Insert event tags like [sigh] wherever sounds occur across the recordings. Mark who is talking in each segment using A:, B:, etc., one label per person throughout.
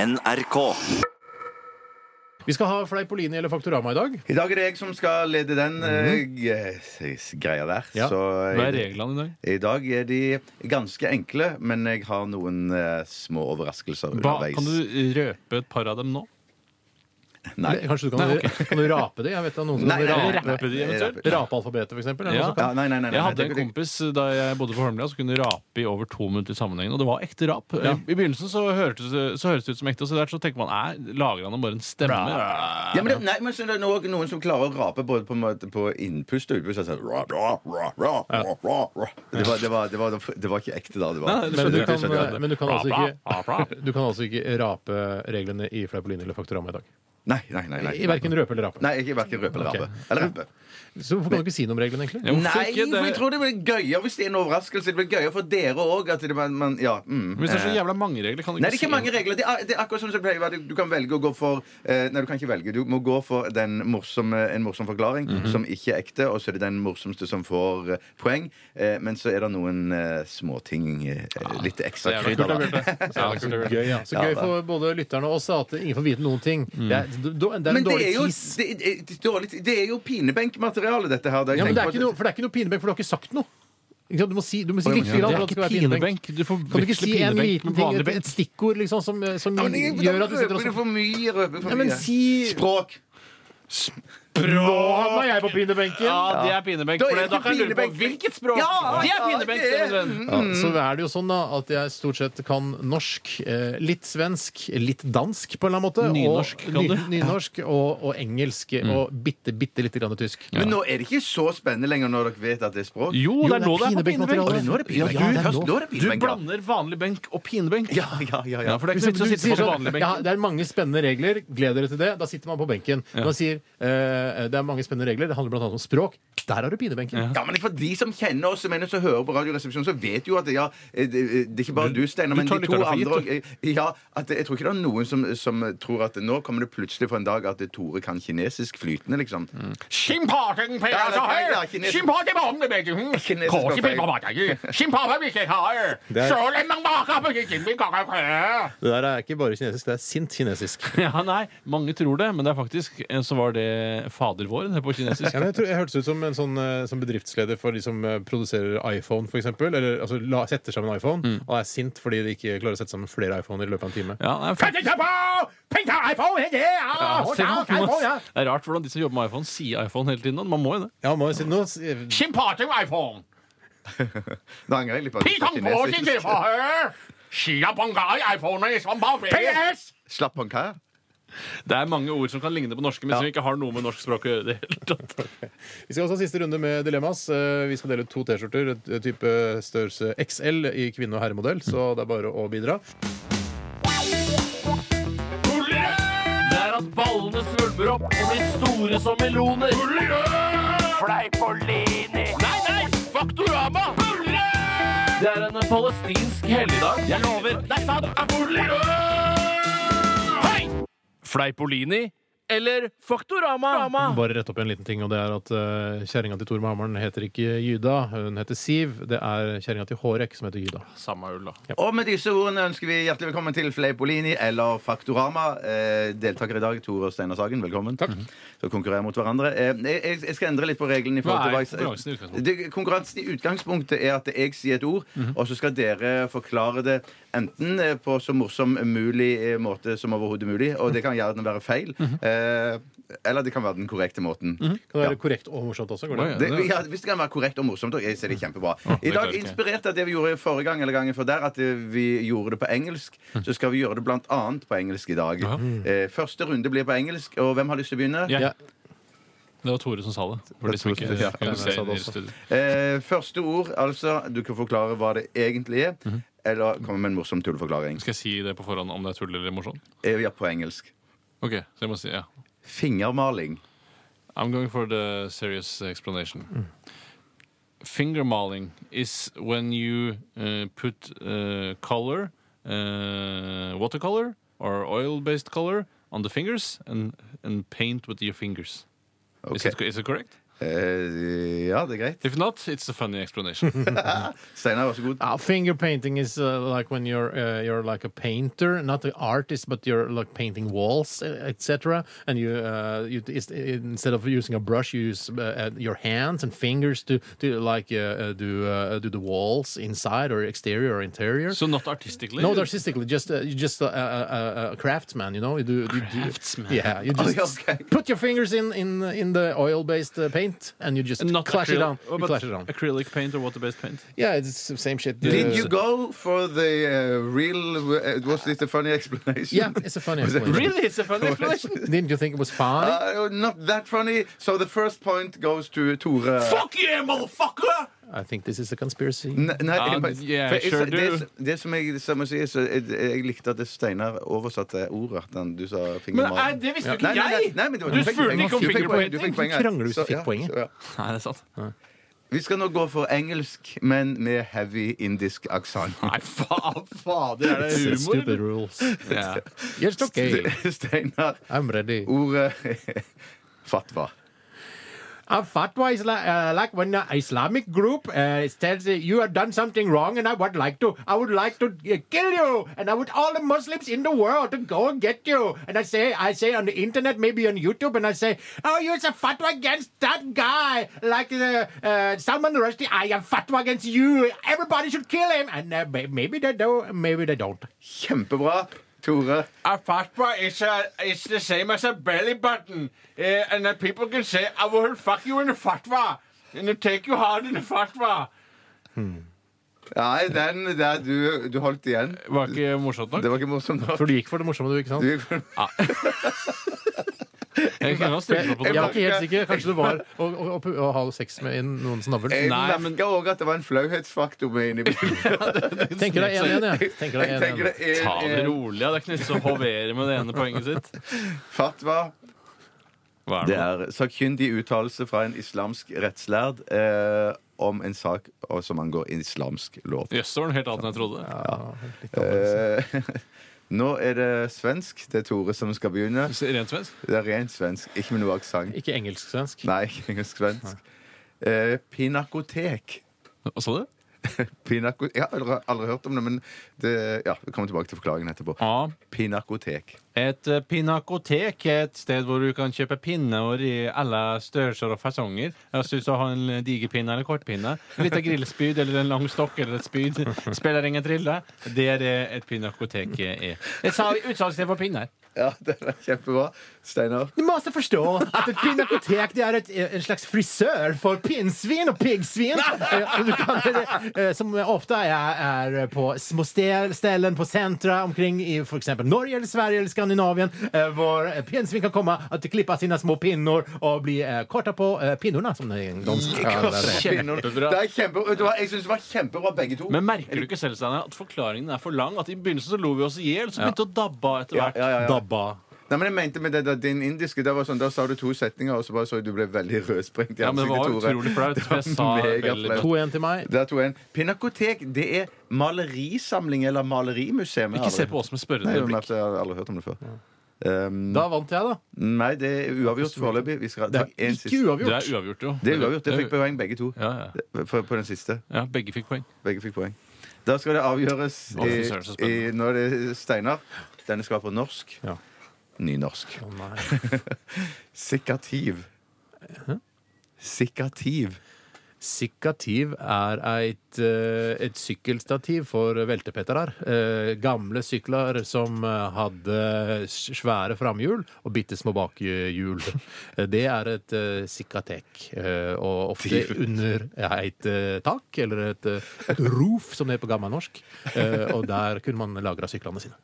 A: NRK.
B: Vi skal ha Fleipolini eller Faktorama i dag.
C: I dag er det jeg som skal lede den eh, g- s- greia der.
B: Ja.
C: Så
D: Mhm. Hva er reglene i dag?
C: i dag er de ganske enkle, men jeg har noen eh, små overraskelser
D: Hva,
C: underveis.
D: kan du røpe et par av dem nå?
C: Nei.
B: Eller Kanskje du kan, [laughs] kan du rape det? Jeg vet det er noen som
C: Nei, nei,
B: kan
C: nei,
B: rape,
C: nei.
D: Rappe de eventuelt?
B: rape alfabetet, for eksempel. Er det noen
D: Ja.
B: som kan?
C: Ja, nei, nei, nei, nei,
D: Jeg hadde
C: nei,
D: en
C: det-
D: kompis eh, da jeg bodde på Holmlia som kunne rape i over to minutter i sammenhengen. Og det var ekte rap. I begynnelsen så hørtes, det- så høres det ut som ekte, og så der så tenker man nei, lager han bare en stemme?
C: Ja, men det, nei, men så er det noen, noen som klarer å rape både på, en måte på innpust og utpust. Altså, ra, ra, ra, ra, ra, ra, ra. Det, var, det, var, det, var, det var ikke ekte da. Det var.
D: Nei, nei, det
B: Men
D: skjønner
B: du
D: jeg.
B: kan,
D: Det skjønner jeg.
B: men du kan altså
D: Bla, bla,
B: ikke
D: bla.
B: Du kan altså ikke rape reglene i Fleipolini eller Faktorama i dag.
C: nei, nei, nei, nei.
B: I Verken røpe eller rape.
C: Nei, ikke verken røpe eller
B: Ok.
C: rape. Eller rappe.
B: Så hvorfor kan du ikke si noe om reglene, egentlig?
D: Ja, hvorfor
C: Nei,
D: ikke?
C: for jeg
D: Det-
C: tror det blir gøyere hvis det er en overraskelse. Det blir gøyere for dere òg. Ja, mm.
D: Hvis det er så
C: Eh,
D: jævla mange regler, kan du
C: Nei, det er
D: si
C: ikke mange regler. Det er, det er akkurat som det pleier å være. Du kan velge å gå for eh, Nei, du kan ikke velge. Du må gå for den morsomme, en morsom forklaring
B: Mhm.
C: som ikke er ekte, og så er det den morsomste som får eh, poeng. Eh, men så er det noen eh, småting eh, Litt ekstra
D: Det er
C: krydder.
D: kult,
C: da.
B: Ja, så gøy, ja. så gøy for både lytterne og oss da, at ingen får vite noen ting. Det er, det er en
C: Mm. Men det
B: dårlig
C: er jo,
B: tis.
C: det, det, det, er dårlig, det er jo pinebenkmateriale, dette her. da jeg
B: Ja, men det er
C: tenker
B: ikke
C: på
B: noe,
C: at-
B: for det er ikke noe pinebenk, for du har ikke sagt noe. Ikke sant? Du må si, du må si
C: Oi, men
B: litt
C: ja,
B: grann for
D: Det er
B: at det skal
D: ikke
B: være pinebenk.
D: pinebenk. Du
B: Kan du ikke si
D: forveksler
B: en
D: pinebenk
B: liten
D: med
B: ting,
D: vanlig
B: et,
D: benk.
B: et stikkord liksom, som, som
C: Ja, men jeg-
B: gjør at
C: da
B: du sitter og
C: røper det for mye. Røper for
B: Ja, men
C: mye.
B: si-
C: Språk.
B: Nå havna jeg på pinebenken!
D: Ja, det er pinebenk.
C: Da
D: For
C: er det
D: det- da kan jeg lure på
C: pinebenk.
D: hvilket språk!
C: Ja,
D: det er
C: ja,
D: pinebenk!
C: det er-
D: det er min venn.
B: Ja, så er det jo sånn da at jeg stort sett kan norsk, eh, litt svensk, litt dansk på en eller annen måte.
D: Nynorsk
B: og,
D: kan du. Mm.
B: ny- [laughs] Nynorsk og, og engelsk og bitte, bitte lite grann tysk.
C: Men nå er det ikke så spennende lenger når dere vet at det er språk.
D: Jo,
B: Jo,
D: det er nå det er på
B: pinebenkmateriale.
D: pinebenk.
C: Nå er det pinebenk.
B: Ja, det er
C: Først
B: nå.
C: nå er det
D: Du
C: pinebenk. ja.
D: blander vanlig benk og pinebenk.
C: Ja, ja, ja, ja.
D: Ja, for det er
B: Hvis
D: ikke
B: du
D: noe vits å sitte
B: sier
D: på den
B: sånn,
D: vanlige
B: ja,
D: benken.
B: det er mange spennende regler. Gled dere til det. Da sitter man på benken. Man sier eh, det er mange spennende regler. Det handler blant annet om språk. Der har du pinebenken.
C: Ja, men For de som kjenner oss som er som hører på Radioresepsjonen, så vet jo at ja, eh, det, det er ikke bare du, Steinar,
D: du
C: men
D: tar
C: de to
D: lytterne for gitt,
C: andre og- ja, at eh, Jeg tror ikke det er noen som, som tror at nå kommer det plutselig for en dag at Tore kan kinesisk flytende, liksom.
D: Skimparten per
C: Ja, det er-
D: altså
C: det er
D: her!
C: kines-
D: Skimparten på om det
C: [laughs]
D: begge hun!
C: Kinesisk
D: Kåre
C: og feil.
D: på bakdagen. Skimparten vil ikke ha her!
B: er-
D: Så lenge baker på ikke vil kakke her!
B: Det der er ikke bare kinesisk, det er sint kinesisk.
D: Ja, nei, mange tror det, men det er faktisk eh, så var det fader vår det er på kinesisk.
B: Ja, men jeg, tror, jeg hørtes ut som en sånn, eh, som bedriftsleder for de som eh, produserer iPhone, f.eks. Eller altså, la, setter sammen iPhone og er sint fordi de ikke klarer å sette sammen flere iPhoner i løpet av en time.
D: Ja, nei, fa- Ja, se hva- Det er rart hvordan de som jobber med iPhone, sier iPhone hele tiden. og Man må jo det.
B: Ja, må jeg si, nå, s- eh,
D: Skimparten iPhone!
C: Da angrer jeg litt på at jeg sa kinesisk. Slapp på en kar.
D: Det er mange ord som kan ligne på norske, men som ikke har noe med norsk språk å gjøre. i det hele tatt.
B: vi skal også ha siste runde med dilemmas. Eh, Vi skal dele ut to T-skjorter, et- et type størrelse XL i kvinne- og herremodell, så det er bare å bidra.
D: Det er at ballene svulmer opp og blir store som meloner. Fleipolini. Nei, nei! Faktorama! Det er en palestinsk helligdag. Jeg lover. Det er sant. Hei! Fleipolini eller Faktorama?
B: Ah. Bare rette opp en liten ting, og det er at uh, kjerringa til Tor med hammeren heter ikke Gyda, hun heter Siv. Det er kjerringa til Hårek som heter Gyda.
D: Samme ull, da.
C: Og med disse ordene ønsker vi hjertelig velkommen til Fleipolini eller Faktorama. Eh, deltakere i dag, Tore og Steinar Sagen, velkommen. Takk. Så konkurrerer mot hverandre. Eh, jeg, jeg skal endre litt på reglene. i forhold
D: Hva er
C: til hva jeg-
D: konkurransen i utgangspunktet? Mhm.
C: Det- Konkurransen i utgangspunktet er at jeg sier et ord, og så skal dere forklare det enten eh, på så morsom mulig eh, måte som overhodet mulig, og det kan gjerne være feil,
D: Mhm.
C: eh, eller det kan være den korrekte måten.
B: Kan det
C: Ja.
B: være korrekt og morsomt også? Går det?
D: Å,
C: Det, ja, hvis det kan være korrekt og morsomt, og jeg ser det kjempebra. I
D: klarer
C: dag,
D: ikke jeg.
C: inspirert av det vi gjorde forrige gang, eller gangen før der, at eh, vi gjorde det på engelsk, så skal vi gjøre det blant annet på engelsk i dag. Eh, første runde blir på engelsk, og hvem har lyst til å begynne?
D: Ja.
B: Ja.
D: Det var Tore som sa det. For de som ikke
B: Ja,
D: kunne
B: jeg sa
D: se
B: det
D: det i
B: også.
D: studio.
C: Eh, første ord, altså. Du kan forklare hva det egentlig er. Eller komme med en morsom tulleforklaring.
D: Skal jeg si det på forhånd om det er tull eller morsomt?
C: Eh, Ja, på engelsk.
D: Ok, så jeg må si ja.
C: Fingermaling.
D: I'm going for the serious
B: Mm.
D: explanation. Finger maling is when you uh, put uh, color, uh, watercolor or oil-based color on the fingers and, and paint with your fingers. Is,
C: Ok.
D: it, is it correct?
C: Eh, ja, det er greit.
D: If not, it's a
B: [laughs]
D: funny explanation.
C: Steinar, vær så god.
B: Uh, finger painting is uh, like when you're uh, you're like a painter, not an artist, but you're like painting walls, etc. And you uh, you is- instead of using a brush, you use uh, uh, your hands and fingers to to like uh, uh, do uh, do the walls inside or exterior or interior.
D: so not artistically.
B: no, artistically, just uh, you just a, a, a craftsman, you know. You do, you do-
D: Craftsman.
B: Yeah, you just
C: yeah, okay.
B: put your fingers in in in the oil-based uh, paint, and you just
D: not
B: clash it
D: acryl-
B: down.
D: Oh,
B: You
D: but
B: clash it down.
D: Acrylic paint or water-based paint.
B: Yeah, it's the same shit.
C: Did
B: uh,
C: you go for the uh, real uh, Was this a funny explanation?
B: Yeah, it's a funny
C: Was it
B: explanation.
D: Really, it's a funny explanation.
B: Didn't you think it was funny?
C: Uh, not that funny. So the first point goes to Tore.
D: Fuck yeah, motherfucker!
B: I think this is a conspiracy.
D: [laughs]
C: Ne- Nei,
D: Ja,
C: jeg bare-
D: ja,
C: for jeg-
D: sure
C: det,
D: do.
C: det som jeg som jeg sier, så jeg, jeg likte at det Steinar oversatte ordet. at Han, du sa
D: Men
C: fingermalen.
D: nei, det visste jo
C: Nei,
D: ikke
C: nei, nei,
D: jeg!
C: nei, men det var-
D: Du
C: fikk
D: spurte
C: poeng.
D: ikke om
C: Du fikk poeng, Du fikk poeng
D: fingerpointing.
C: her.
B: Krangler du hvis
C: Så-
B: du fikk
C: ja,
B: poenget?
C: så- ja.
D: Nei, det er sant.
C: Vi skal nå gå for engelsk, men med heavy indisk aksent.
D: Nei, faen, fader, er det humor?
B: Stupid
D: eller?
B: rules.
D: Ja.
B: Yes,
D: [laughs]
B: okay.
C: [laughs] Steinar,
B: I'm ready.
C: ordet [laughs] fatwa.
B: A fatwa is like, uh, like when an Islamic group uh, says uh, you have done something wrong, and I would like to, I would like to uh, kill you, and I would all the Muslims in the world to go and get you. And I say, I say on the internet, maybe on YouTube, and I say, oh, you it's a fatwa against that guy, like uh, uh, Salman Rushdie. I have fatwa against you. Everybody should kill him. And uh, may- maybe they do, maybe they don't.
C: Kjempebra, Tore.
D: A fatwa is, a, is the same as a belly button. Uh, and then people can say, I will fuck you in a fatwa. And they take you hard in a fatwa.
C: Nei, den der du, du holdt igjen.
D: Var ikke morsomt nok?
C: Det var ikke morsomt nok.
B: For du gikk for det morsomme, du, ikke sant?
C: Du gikk for-
D: Jeg kunne ha stilt meg på
B: Jeg
D: det.
B: var ikke helt sikker. Kanskje det var å, å, å, å ha sex med en, noens navl.
C: Jeg
D: Nei,
C: merka
D: men-
C: òg at det var en flauhetsfaktor med inni
D: [laughs]
C: bildet.
B: Tenker deg 1-1, jeg. Tenker
C: Jeg
B: deg
C: tenker
B: 1-1.
C: det er,
D: Ta det
C: er
D: rolig. ja. Det er ikke nytt å hovere med det ene poenget sitt.
C: fatwa.
D: Hva
C: Det er sakkyndig uttalelse fra en islamsk rettslærd eh, om en sak og som angår islamsk lov.
D: Jøss, det var noe helt annet enn jeg trodde.
C: Eh, [laughs] nå er det svensk. Det er Tore som skal begynne.
D: Rent svensk?
C: Det er rent svensk, ikke med noe aksent.
B: Ikke engelsk-svensk.
C: Nei, ikke engelsk-svensk. Eh, pinakotek.
D: Hva sa du?
C: Pinako jeg har aldri, aldri hørt om det, men det, ja, vi kommer tilbake til forklaringen etterpå.
D: Ja.
C: Pinakotek.
D: Et eh, pinakotek er et sted hvor du kan kjøpe pinner i alle størrelser og fasonger. Altså Hvis du har en diger pinne eller kortpinne, en liten grillspyd eller en lang stokk eller
C: [laughs]
D: et spyd, spiller ingen trille. Det er det et pinakotek er. Et sal- utsalgssted for pinner.
C: Ja, [laughs] det er kjempebra. Steinar.
B: Du må også forstå at et pinakotek det er et, en slags frisør for pinnsvin og piggsvin. Eh, Du kan, eh, som ofte er, er på små stel- ställen på sentra omkring i f.eks. Norge eller Sverige eller Skandinavien, eh, hvor pinnsvin kan komme og klippe sine små pinner og bli eh, korta på eh, pinnene, som de, de kaller det.
D: Kjempebra.
C: Det er kjempe, vet du hva, jeg syns det var kjempebra, begge to.
D: Men merker du ikke selv Steinar, at forklaringen er for lang? At I begynnelsen så lo vi oss i hjel, så begynte det å dabbe av etter
C: ja,
D: hvert.
C: ja, ja, ja.
B: Dabba.
C: Nei, men jeg mente med det, der, din indiske det var sånn, Da sa du to setninger, og så bare så jeg du ble veldig rødsprengt i
D: Ja, men det var
C: ansiktet, Tore.
D: utrolig flaut, for jeg
C: Det
D: sa
C: var
D: veldig
C: megaflaut.
B: 2-1 til meg.
C: Der tok jeg en. Pinakotek det er malerisamling eller malerimuseum. Jeg har
D: Ikke se
C: aldri-
D: på oss med
C: Nei,
D: spørrende
C: jeg
D: blikk.
C: har aldri hørt om det før. Um,
B: Da vant jeg, da.
C: nei, det er uavgjort foreløpig. Vi skal
B: Det
C: ta
B: er
C: en
B: ikke
C: siste.
D: Det er
B: uavgjort.
D: uavgjort, jo.
C: Det er uavgjort. Det fikk poeng, begge to.
D: Ja, ja.
C: For, på den siste.
D: ja, begge fikk poeng.
C: Begge fikk poeng. Da skal det avgjøres
D: Å,
C: i,
D: fy søren, så
C: i
D: spennende.
C: Nå er det Steinar. Denne skal på norsk.
B: Ja.
C: Nynorsk.
B: Å, nei.
C: Sikkativ. Sikkativ.
B: Sikkativ er et, eh, et sykkelstativ for veltepetterer. Eh, Gamle sykler som eh, hadde s- svære framhjul og bitte små bakhjul. Eh, Det er et eh, sikkatek. eh, Og ofte
C: Tiv.
B: under et eh, tak, eller et eh, et roof, som det er på gammelnorsk. Eh, Og der kunne man lagra syklene sine.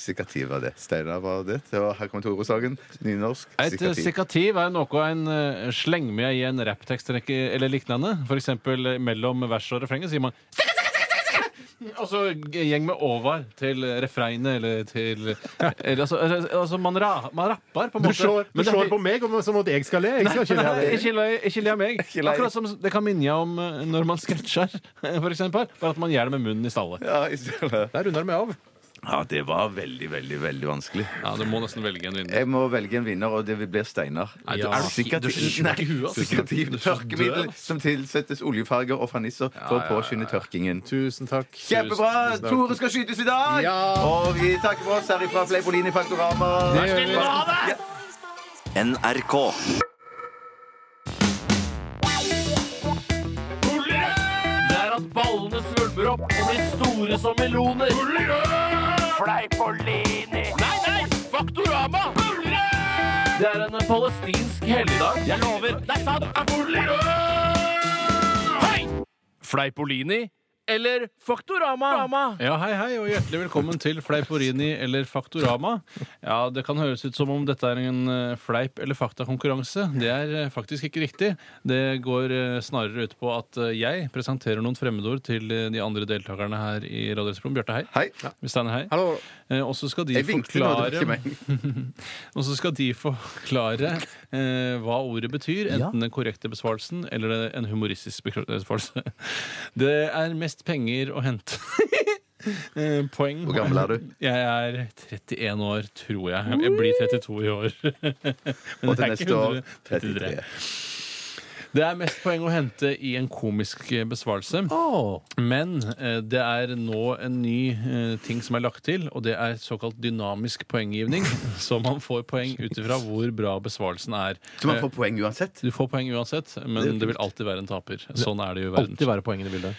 C: Sikkativ var det. Steinar var det. Og her kommer Tore Sagen. Nynorsk.
D: Et eh,
C: Sikkativ.
D: sikkativ er noe en eh, slenger med i en rapptekstrekke eller lignende. For eksempel eh, mellom vers og refrenget sier man «Sikka, sikka, sikka, sikka!» og så g- gjeng med over til refrenget eller til [laughs] eller, altså, altså, altså man, ra, man rapper, på en
B: Du
D: måte.
B: slår,
D: Men det er-
B: på meg som at jeg skal le. Jeg skal ikke le
D: [laughs] Nei, Ikke le ikke le av meg.
C: le av-
D: Akkurat som det kan minne om eh, [laughs] når man scratcher, for eksempel. Bare at man gjør det med munnen i stallet.
C: Ja, i stedet.
B: [laughs] Der runder vi av.
C: Ja, det var veldig, veldig, veldig vanskelig.
D: Ja, Du må nesten velge en vinner.
C: Jeg må velge en vinner, og det blir Steinar.
D: Nei, du
E: Ja.
D: er du-
C: Sikkert-
D: du skyter i huet,
C: Nei,
D: altså.
C: Sikkertiv
D: Du skyter i død,
C: tørkemiddel
D: altså.
C: som tilsettes oljefarger og fanisser for å påskynde tørkingen.
B: Tusen takk.
C: Kjempebra!
B: Tusen takk.
C: Tore skal skytes i dag!
B: Ja.
C: Og vi takker for oss herifra Fleipolini Faktorama.
B: Det gjør vi.
F: NRK.
G: Det er at ballene svulmer opp og blir store som meloner. Fleipolini. Nei, nei! Faktorama! Det er en palestinsk helligdag. Jeg lover. Det er sant. Hei! Fleipolini eller Faktorama?
D: Ja, Hei, hei, og hjertelig velkommen til Fleiporini eller Faktorama. Ja, Det kan høres ut som om dette er en eh, fleip- eller faktakonkurranse. Det er eh, faktisk ikke riktig. Det går eh, snarere ut på at eh, jeg presenterer noen fremmedord til eh, de andre deltakerne her i Radioresepsjonen. Bjarte, hei.
C: Hei.
D: Steiner, hei.
B: Hallo.
D: Eh, Og så skal de
C: Jeg vinkte nå, det var
D: forklare
C: ikke meg.
D: Og så skal de forklare eh, hva ordet betyr, enten den korrekte besvarelsen eller eh, en humoristisk bekra- besvarelse. [laughs] Det er mest penger å hente. [laughs] Eh, Poeng.
C: Hvor gammel er du?
D: Jeg er 31 år, tror jeg. Jeg blir 32 i år. [laughs] Men
C: Og til
D: det er ikke
C: neste år
D: 133. Det er mest poeng å hente i en komisk eh, besvarelse. Men eh, det er nå en ny eh, ting som er lagt til, og det er såkalt dynamisk
C: [laughs]
D: poenggivning. Så man får poeng ut ifra hvor bra besvarelsen er.
C: Så man
D: Eh,
C: får poeng uansett?
D: Du får poeng uansett, men det vil alltid være en taper. Sånn er det jo i verden.
B: Alltid være poengene i bildet.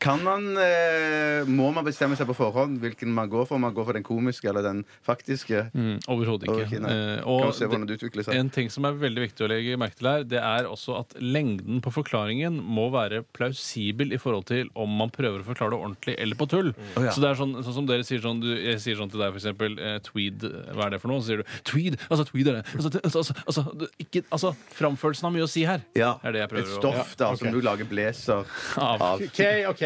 C: Kan man, eh, må man bestemme seg på forhånd hvilken man går for? Om man går for den komiske eller den faktiske?
D: Mm, Overhodet ikke.
C: Ok, nei.
D: Eh,
C: kan
D: og
C: vi se
D: det-
C: hvordan det utvikler seg?
D: En ting som er veldig viktig å legge merke til her, det er også at lengden på forklaringen må være plausibel i forhold til om man prøver å forklare det ordentlig eller på tull. Så det er sånn, sånn som dere sier sånn, du, jeg sier sånn til deg for eksempel, eh, tweed, hva er det for noe? Så sier du, tweed, altså tweed er det. Altså, t- altså, altså, altså, du- ikke, altså framførelsen har mye å si her.
C: Ja.
D: Det er det jeg prøver
C: Et
D: å-
C: stoff da, som du lager blazer
D: Av.
C: av.
E: OK, OK.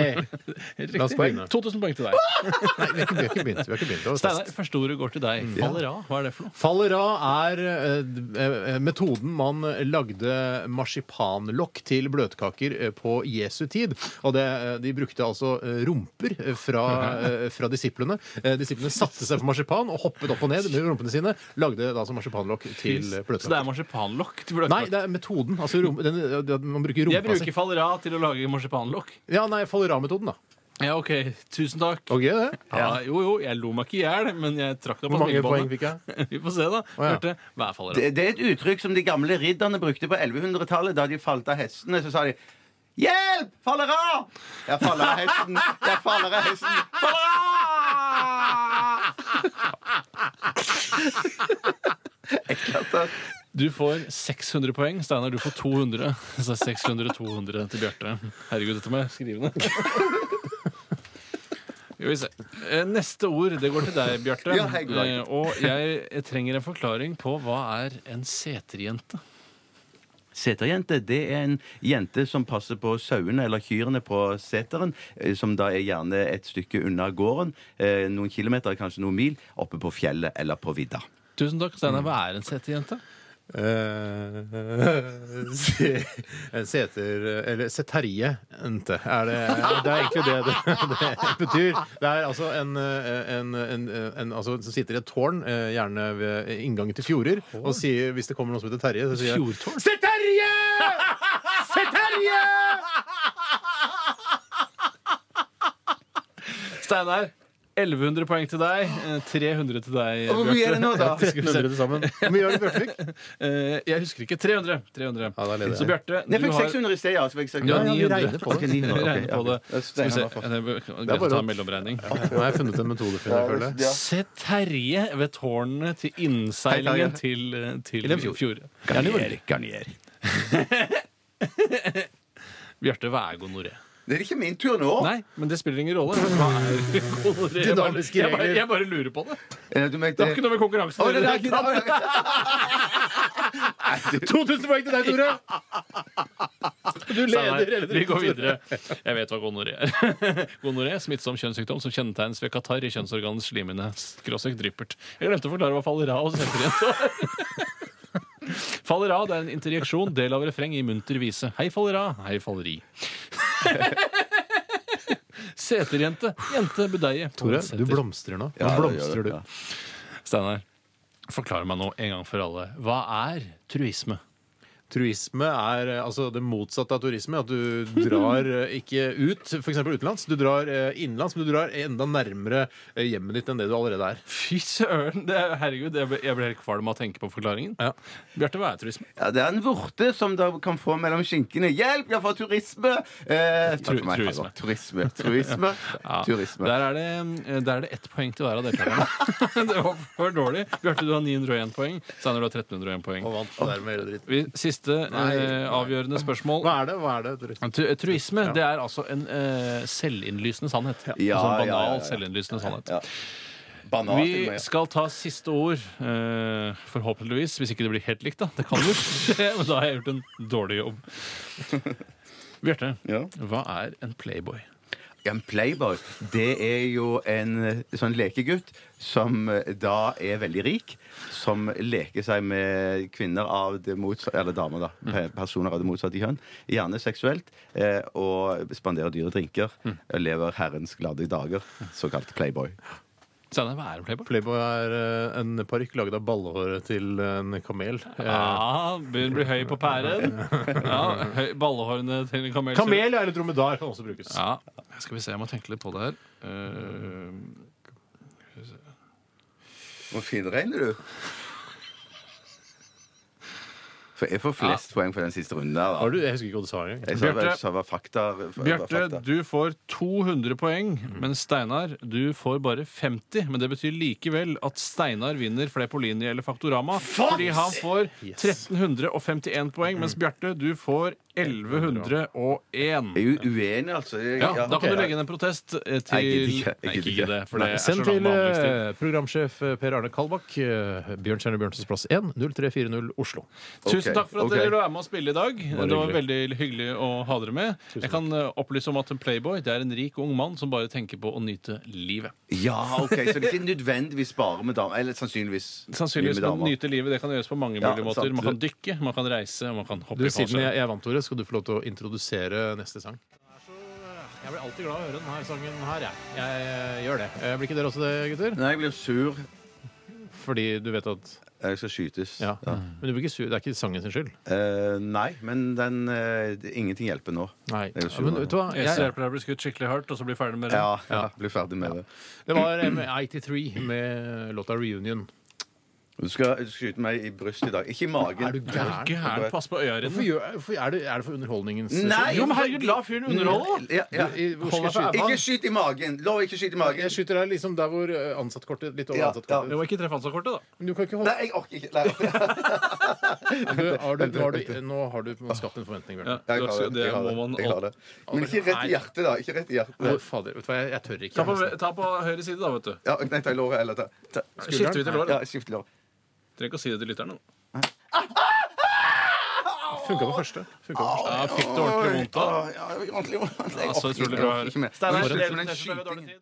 D: Riktig.
B: La oss begynne.
D: 2000 poeng til deg.
B: Nei, vi har ikke vi har ikke begynt. Vi har ikke begynt. Det var
D: Steinar,
B: fest.
D: første ordet går til deg.
B: Mm.
D: Faller av, hva er det for noe?
B: Faller av er eh, d- eh, metoden man lagde marsipanlokk til bløtkaker eh, på Jesu tid. Og det, eh, de brukte altså eh, rumper eh, fra, eh, fra disiplene. Eh, Disiplene satte seg på marsipan og hoppet opp og ned med rumpene sine. Lagde da altså marsipanlokk til eh,
D: Så det er
B: bløtkaker.
D: marsipanlokk? til
B: Nei,
D: bløtkake?
B: det er metoden. Altså, rum, den, den- man bruker
D: Jeg
B: rumpa si.
D: bruker faller av til å lage marsipanlokk.
B: Ja, nei, faller av-metoden, da.
D: Ja, OK. Tusen takk.
B: Ok, det.
D: Ja, jo, jo, jeg lo meg ikke i hjel, men jeg trakk deg på
B: Hvor mange poeng
D: smilebåndet.
B: fikk jeg?
D: [laughs] Vi får se,
B: ja.
D: da. Hørte, hver faller av.
C: Det, det er et uttrykk som de gamle ridderne brukte på 1100-tallet. Da de falt av hestene, så sa de Hjelp! Faller av! Jeg faller av hesten. Jeg faller av hesten. Faller av! Jeg klarte
D: Du får 600 poeng. Steinar, du får 200. [laughs] Så det er 600-200 til Bjarte. Herregud, dette må jeg skrive ned. Skal vi se. Eh, Neste ord, det går til deg, Bjarte.
C: Ja, hei, god dag.
D: Eh, Og jeg trenger en forklaring på hva er en seterjente.
C: Seterjente det er en jente som passer på sauene eller kyrne på seteren, eh, som da er gjerne et stykke unna gården, eh, noen kilometer, kanskje noen mil, oppe på fjellet eller på vidda.
D: Tusen takk. Steinar, hva er en seterjente?
B: Eh, [laughs] se- Seter Eller seterjente er det Det er egentlig det [laughs] det, det betyr. Det er altså en, eh, en, en, en altså, som sitter i et tårn, eh, gjerne ved inngangen til fjorder, og sier hvis det kommer noen som heter Terje, så sier jeg
D: Fjordtårn?
B: Se Terje! Se Terje!
D: Steinar, 1100 poeng til deg. eh, 300 til deg,
C: Hvor mye er det nå, da?
D: Skal vi se.
B: Nuller det [laughs] sammen. Hvor mye har du Bjørtvik?
D: Eh, jeg husker ikke. 300. 300.
B: Ja, da leder jeg.
D: så Bjarte, du
C: Jeg fikk
D: har
C: 600 i sted, ja. Så fikk jeg
D: Du har
C: 600.
B: Ja, vi regner
D: 900.
B: på det.
C: Ok, 900, ok,
D: Regner på
C: ja.
D: det. Skal [laughs] vi
C: Steinar
D: se.
C: var først.
D: Det er greit
B: bare
D: å ta
B: å-
D: en mellomregning.
B: Nå har jeg funnet en metode, Finn. Jeg føler det.
D: Se Terje ved tårnet til innseilingen
C: Hei, Terje.
D: til, eh, til
B: Til en fjord.
D: fjord.
C: Garnier, garnier.
D: Bjarte, hva er gonoré?
C: Det er ikke min tur nå.
D: Nei, men det spiller ingen rolle. Hva er gonoré? Jeg bare,
B: Dynamiske
D: jeg, bare,
B: regler.
D: jeg bare lurer på det.
C: Eh, Du mente
D: Det har ikke noe med konkurransen
C: Å,
D: å
C: det er
D: gjøre.
C: ikke det.
B: 2000 poeng til deg, Tore! Du
D: Steinar,
B: leder hele
D: Vi går videre. Jeg vet hva gonoré er. [laughs] Gonoré, smittsom kjønnssykdom som kjennetegnes ved katarr i kjønnsorganets slimene. Skråsøk dryppert. Jeg glemte å forklare hva fallera og senterjente var. [laughs] Fallera det er en interjeksjon, del av refreng i munter vise. Hei, fallera. Hei, falleri. [laughs] Seterjente. Jente budeie.
B: Tore,
D: Seter.
B: du blomstrer nå. Nå
C: Ja,
B: blomstrer du.
C: ja, ja.
D: Steinar, forklar meg nå en gang for alle. Hva er truisme?
B: Truisme er eh, altså det motsatte av turisme. At du drar eh, ikke ut, f.eks. utenlands. Du drar eh, innenlands, men du drar enda nærmere eh, hjemmet ditt enn det du allerede er.
D: Fy søren! Det, er- herregud, jeg ble, jeg ble helt kvalm av å tenke på forklaringen.
B: Ja.
D: Bjarte, hva er truisme?
C: Ja, det er en vorte som da kan få mellom skinkene. Hjelp, jeg får turisme! Eh, takk for meg.
D: truisme.
C: Turisme. [laughs] Turisme.
D: Ja,
C: turisme.
D: Der, er det, eh, der er det ett poeng til hver av deltakerne. [laughs] det var for dårlig. Bjarte, du har 901 poeng. Steinar, du har 1301 poeng.
B: Og vant dermed hele dritten.
D: Vi, siste eh, avgjørende spørsmål.
B: Hva er det? Hva er det? Truisme?
D: Tru- Truisme det er altså en eh, selvinnlysende sannhet.
C: Ja,
D: altså en
C: ja,
D: banal,
C: ja, ja.
D: selvinnlysende sannhet.
C: Ja. Banan til og
D: Vi
C: med.
D: skal ta siste ord, eh, forhåpentligvis. Hvis ikke det blir helt likt, da. Det kan jo skje, [laughs] men da har jeg gjort en dårlig jobb.
C: [laughs]
D: Bjarte,
C: Ja.
D: hva er en playboy?
C: Ja, En playboy, det er jo en eh, sånn lekegutt som eh, da er veldig rik. Som leker seg med kvinner av det motsatte Eller damer, da.
D: Mm.
C: pe- Personer av det motsatte kjønn. Gjerne seksuelt. eh, Og spanderer dyre drinker.
D: Mm.
C: Og lever herrens glade dager. Såkalt playboy.
D: Steinar, hva er en playboy?
B: Playboy er eh, en parykk laget av ballehåret til en kamel. Eh,
D: Ja, Ah, Begynner å bli høy på
B: [laughs]
D: pæren. Ja, høy, Ballehårene til en kamel.
B: Kamel ja, eller dromedar kan også brukes.
D: Ja, Skal vi se, jeg må tenke litt på det her. Eh,
C: Hvor finregner du? For jeg får flest poeng for den siste runden der,
B: Har
C: da.
B: du, jeg husker ikke hva du sa engang.
C: Jeg sa hva
D: Bjarte-
C: sa hva fakta hva
D: Bjarte,
C: fakta.
D: du får 200 poeng, men Steinar, du får bare 50. Men det betyr likevel at Steinar vinner Fleipolini eller Faktorama. Fordi han får 1351 poeng, mens Bjarte, du får
C: Jeg
D: 1101.
C: er jo uenig, altså. Jeg-
D: Ja, da
B: ok.
D: kan du legge inn en protest eh,
C: Nei,
D: til
C: jeg gidder ikke, jeg
D: Nei,
C: gidder
D: ikke
C: ikke.
D: det, for det er så
B: Send
D: lang
B: til
D: behandlingstid.
B: eh, programsjef eh, Per Arne Kalbakk, eh, Bjørnstjerne Bjørnsons plass 1, 0340 Oslo.
D: Tusen takk for at
C: ok.
D: dere ville være med og spille i dag.
B: Bare
D: det var
B: hyggelig.
D: veldig hyggelig å ha dere med. Jeg kan eh, opplyse om at en playboy det er en rik ung mann som bare tenker på å nyte livet.
C: Ja, ok, Så det er ikke nødvendigvis bare med damer? Eller sannsynligvis
D: Sannsynligvis
C: mye
D: man nyter livet. Det kan gjøres på mange
C: Ja,
D: mulige måter.
C: sant.
D: Man kan dykke, man kan reise, man kan
B: Du,
D: hoppe i
B: siden
D: fallskjerm.
B: jeg, jeg vant, Tore, skal du få lov til å introdusere neste sang. Jeg blir alltid glad av å høre denne sangen her, jeg. Jeg, eh, gjør det. Eh, Blir ikke dere også det, gutter?
C: Nei, jeg blir sur.
B: Fordi du vet at
C: Jeg skal skytes.
B: Ja. Men du blir ikke sur. Det er ikke sangen sin skyld.
C: Eh, nei, men den eh, det- Ingenting hjelper nå.
B: Nei.
C: Jeg er
B: Ja,
C: sur
B: men
C: nå.
B: vet du hva?
D: Jeg ser
B: Jeg,
D: på deg bli skutt skikkelig hardt, og så bli ferdig med det.
C: Ja, ja, [laughs] blir ferdig med det.
B: det var eh, M83 med låta 'Reunion'.
C: Du skal, du skal skyte meg i brystet i dag. Ikke i magen.
B: Er du gæren?
D: Gæren, pass på øya
B: Hvorfor
D: dine.
B: gjør, hvorfor er, det, er det for underholdningens
C: Nei!
D: Jo, men herregud, la fyren underholde, da!
C: Ja, ja.
B: I- hvor skal
D: Hold deg
B: jeg
D: for
B: skyte?
C: Ikke skyt i magen! Lov ikke skyte i magen.
B: Jeg skyter deg liksom der hvor eh, ansattkortet litt over
C: Ja,
B: ansattkortet.
D: Det var ikke treff ansattkortet, da.
B: Men du kan ikke holde
C: Nei, jeg orker ikke. Nei,
B: du, har du, har du, Nå har du på en måte skapt en forventning, Bjørn.
D: Ja,
C: jeg
D: det,
C: klarer det.
D: det
C: Jeg klarer
D: må
C: det.
D: man
C: Jeg klarer
D: alltid
C: det. Men ikke rett i hjertet, da. Ikke rett i
B: Å,
C: hjertet.
B: Fader, vet du hva, jeg, jeg tør
D: ta
B: ikke.
D: på, ta på høyre side, da, vet du.
C: Ja, nei, ta i låret eller ta, ta.
D: Skifter vi til lår? da?
C: Ja, skift lår.
D: Trenger ikke å si det til lytteren. da.
B: Funka på første. Funket på første.
D: Ja, fikk du ordentlig vondt da?
C: Åh, Ja, det gjør ordentlig vondt. Jeg
D: Ja, så
C: orker ikke,
D: utrolig
C: jeg
D: bra.
C: orker ikke mer. Men
D: Steinar, det
C: den
D: er så dårlig
C: skytingen-
D: tid.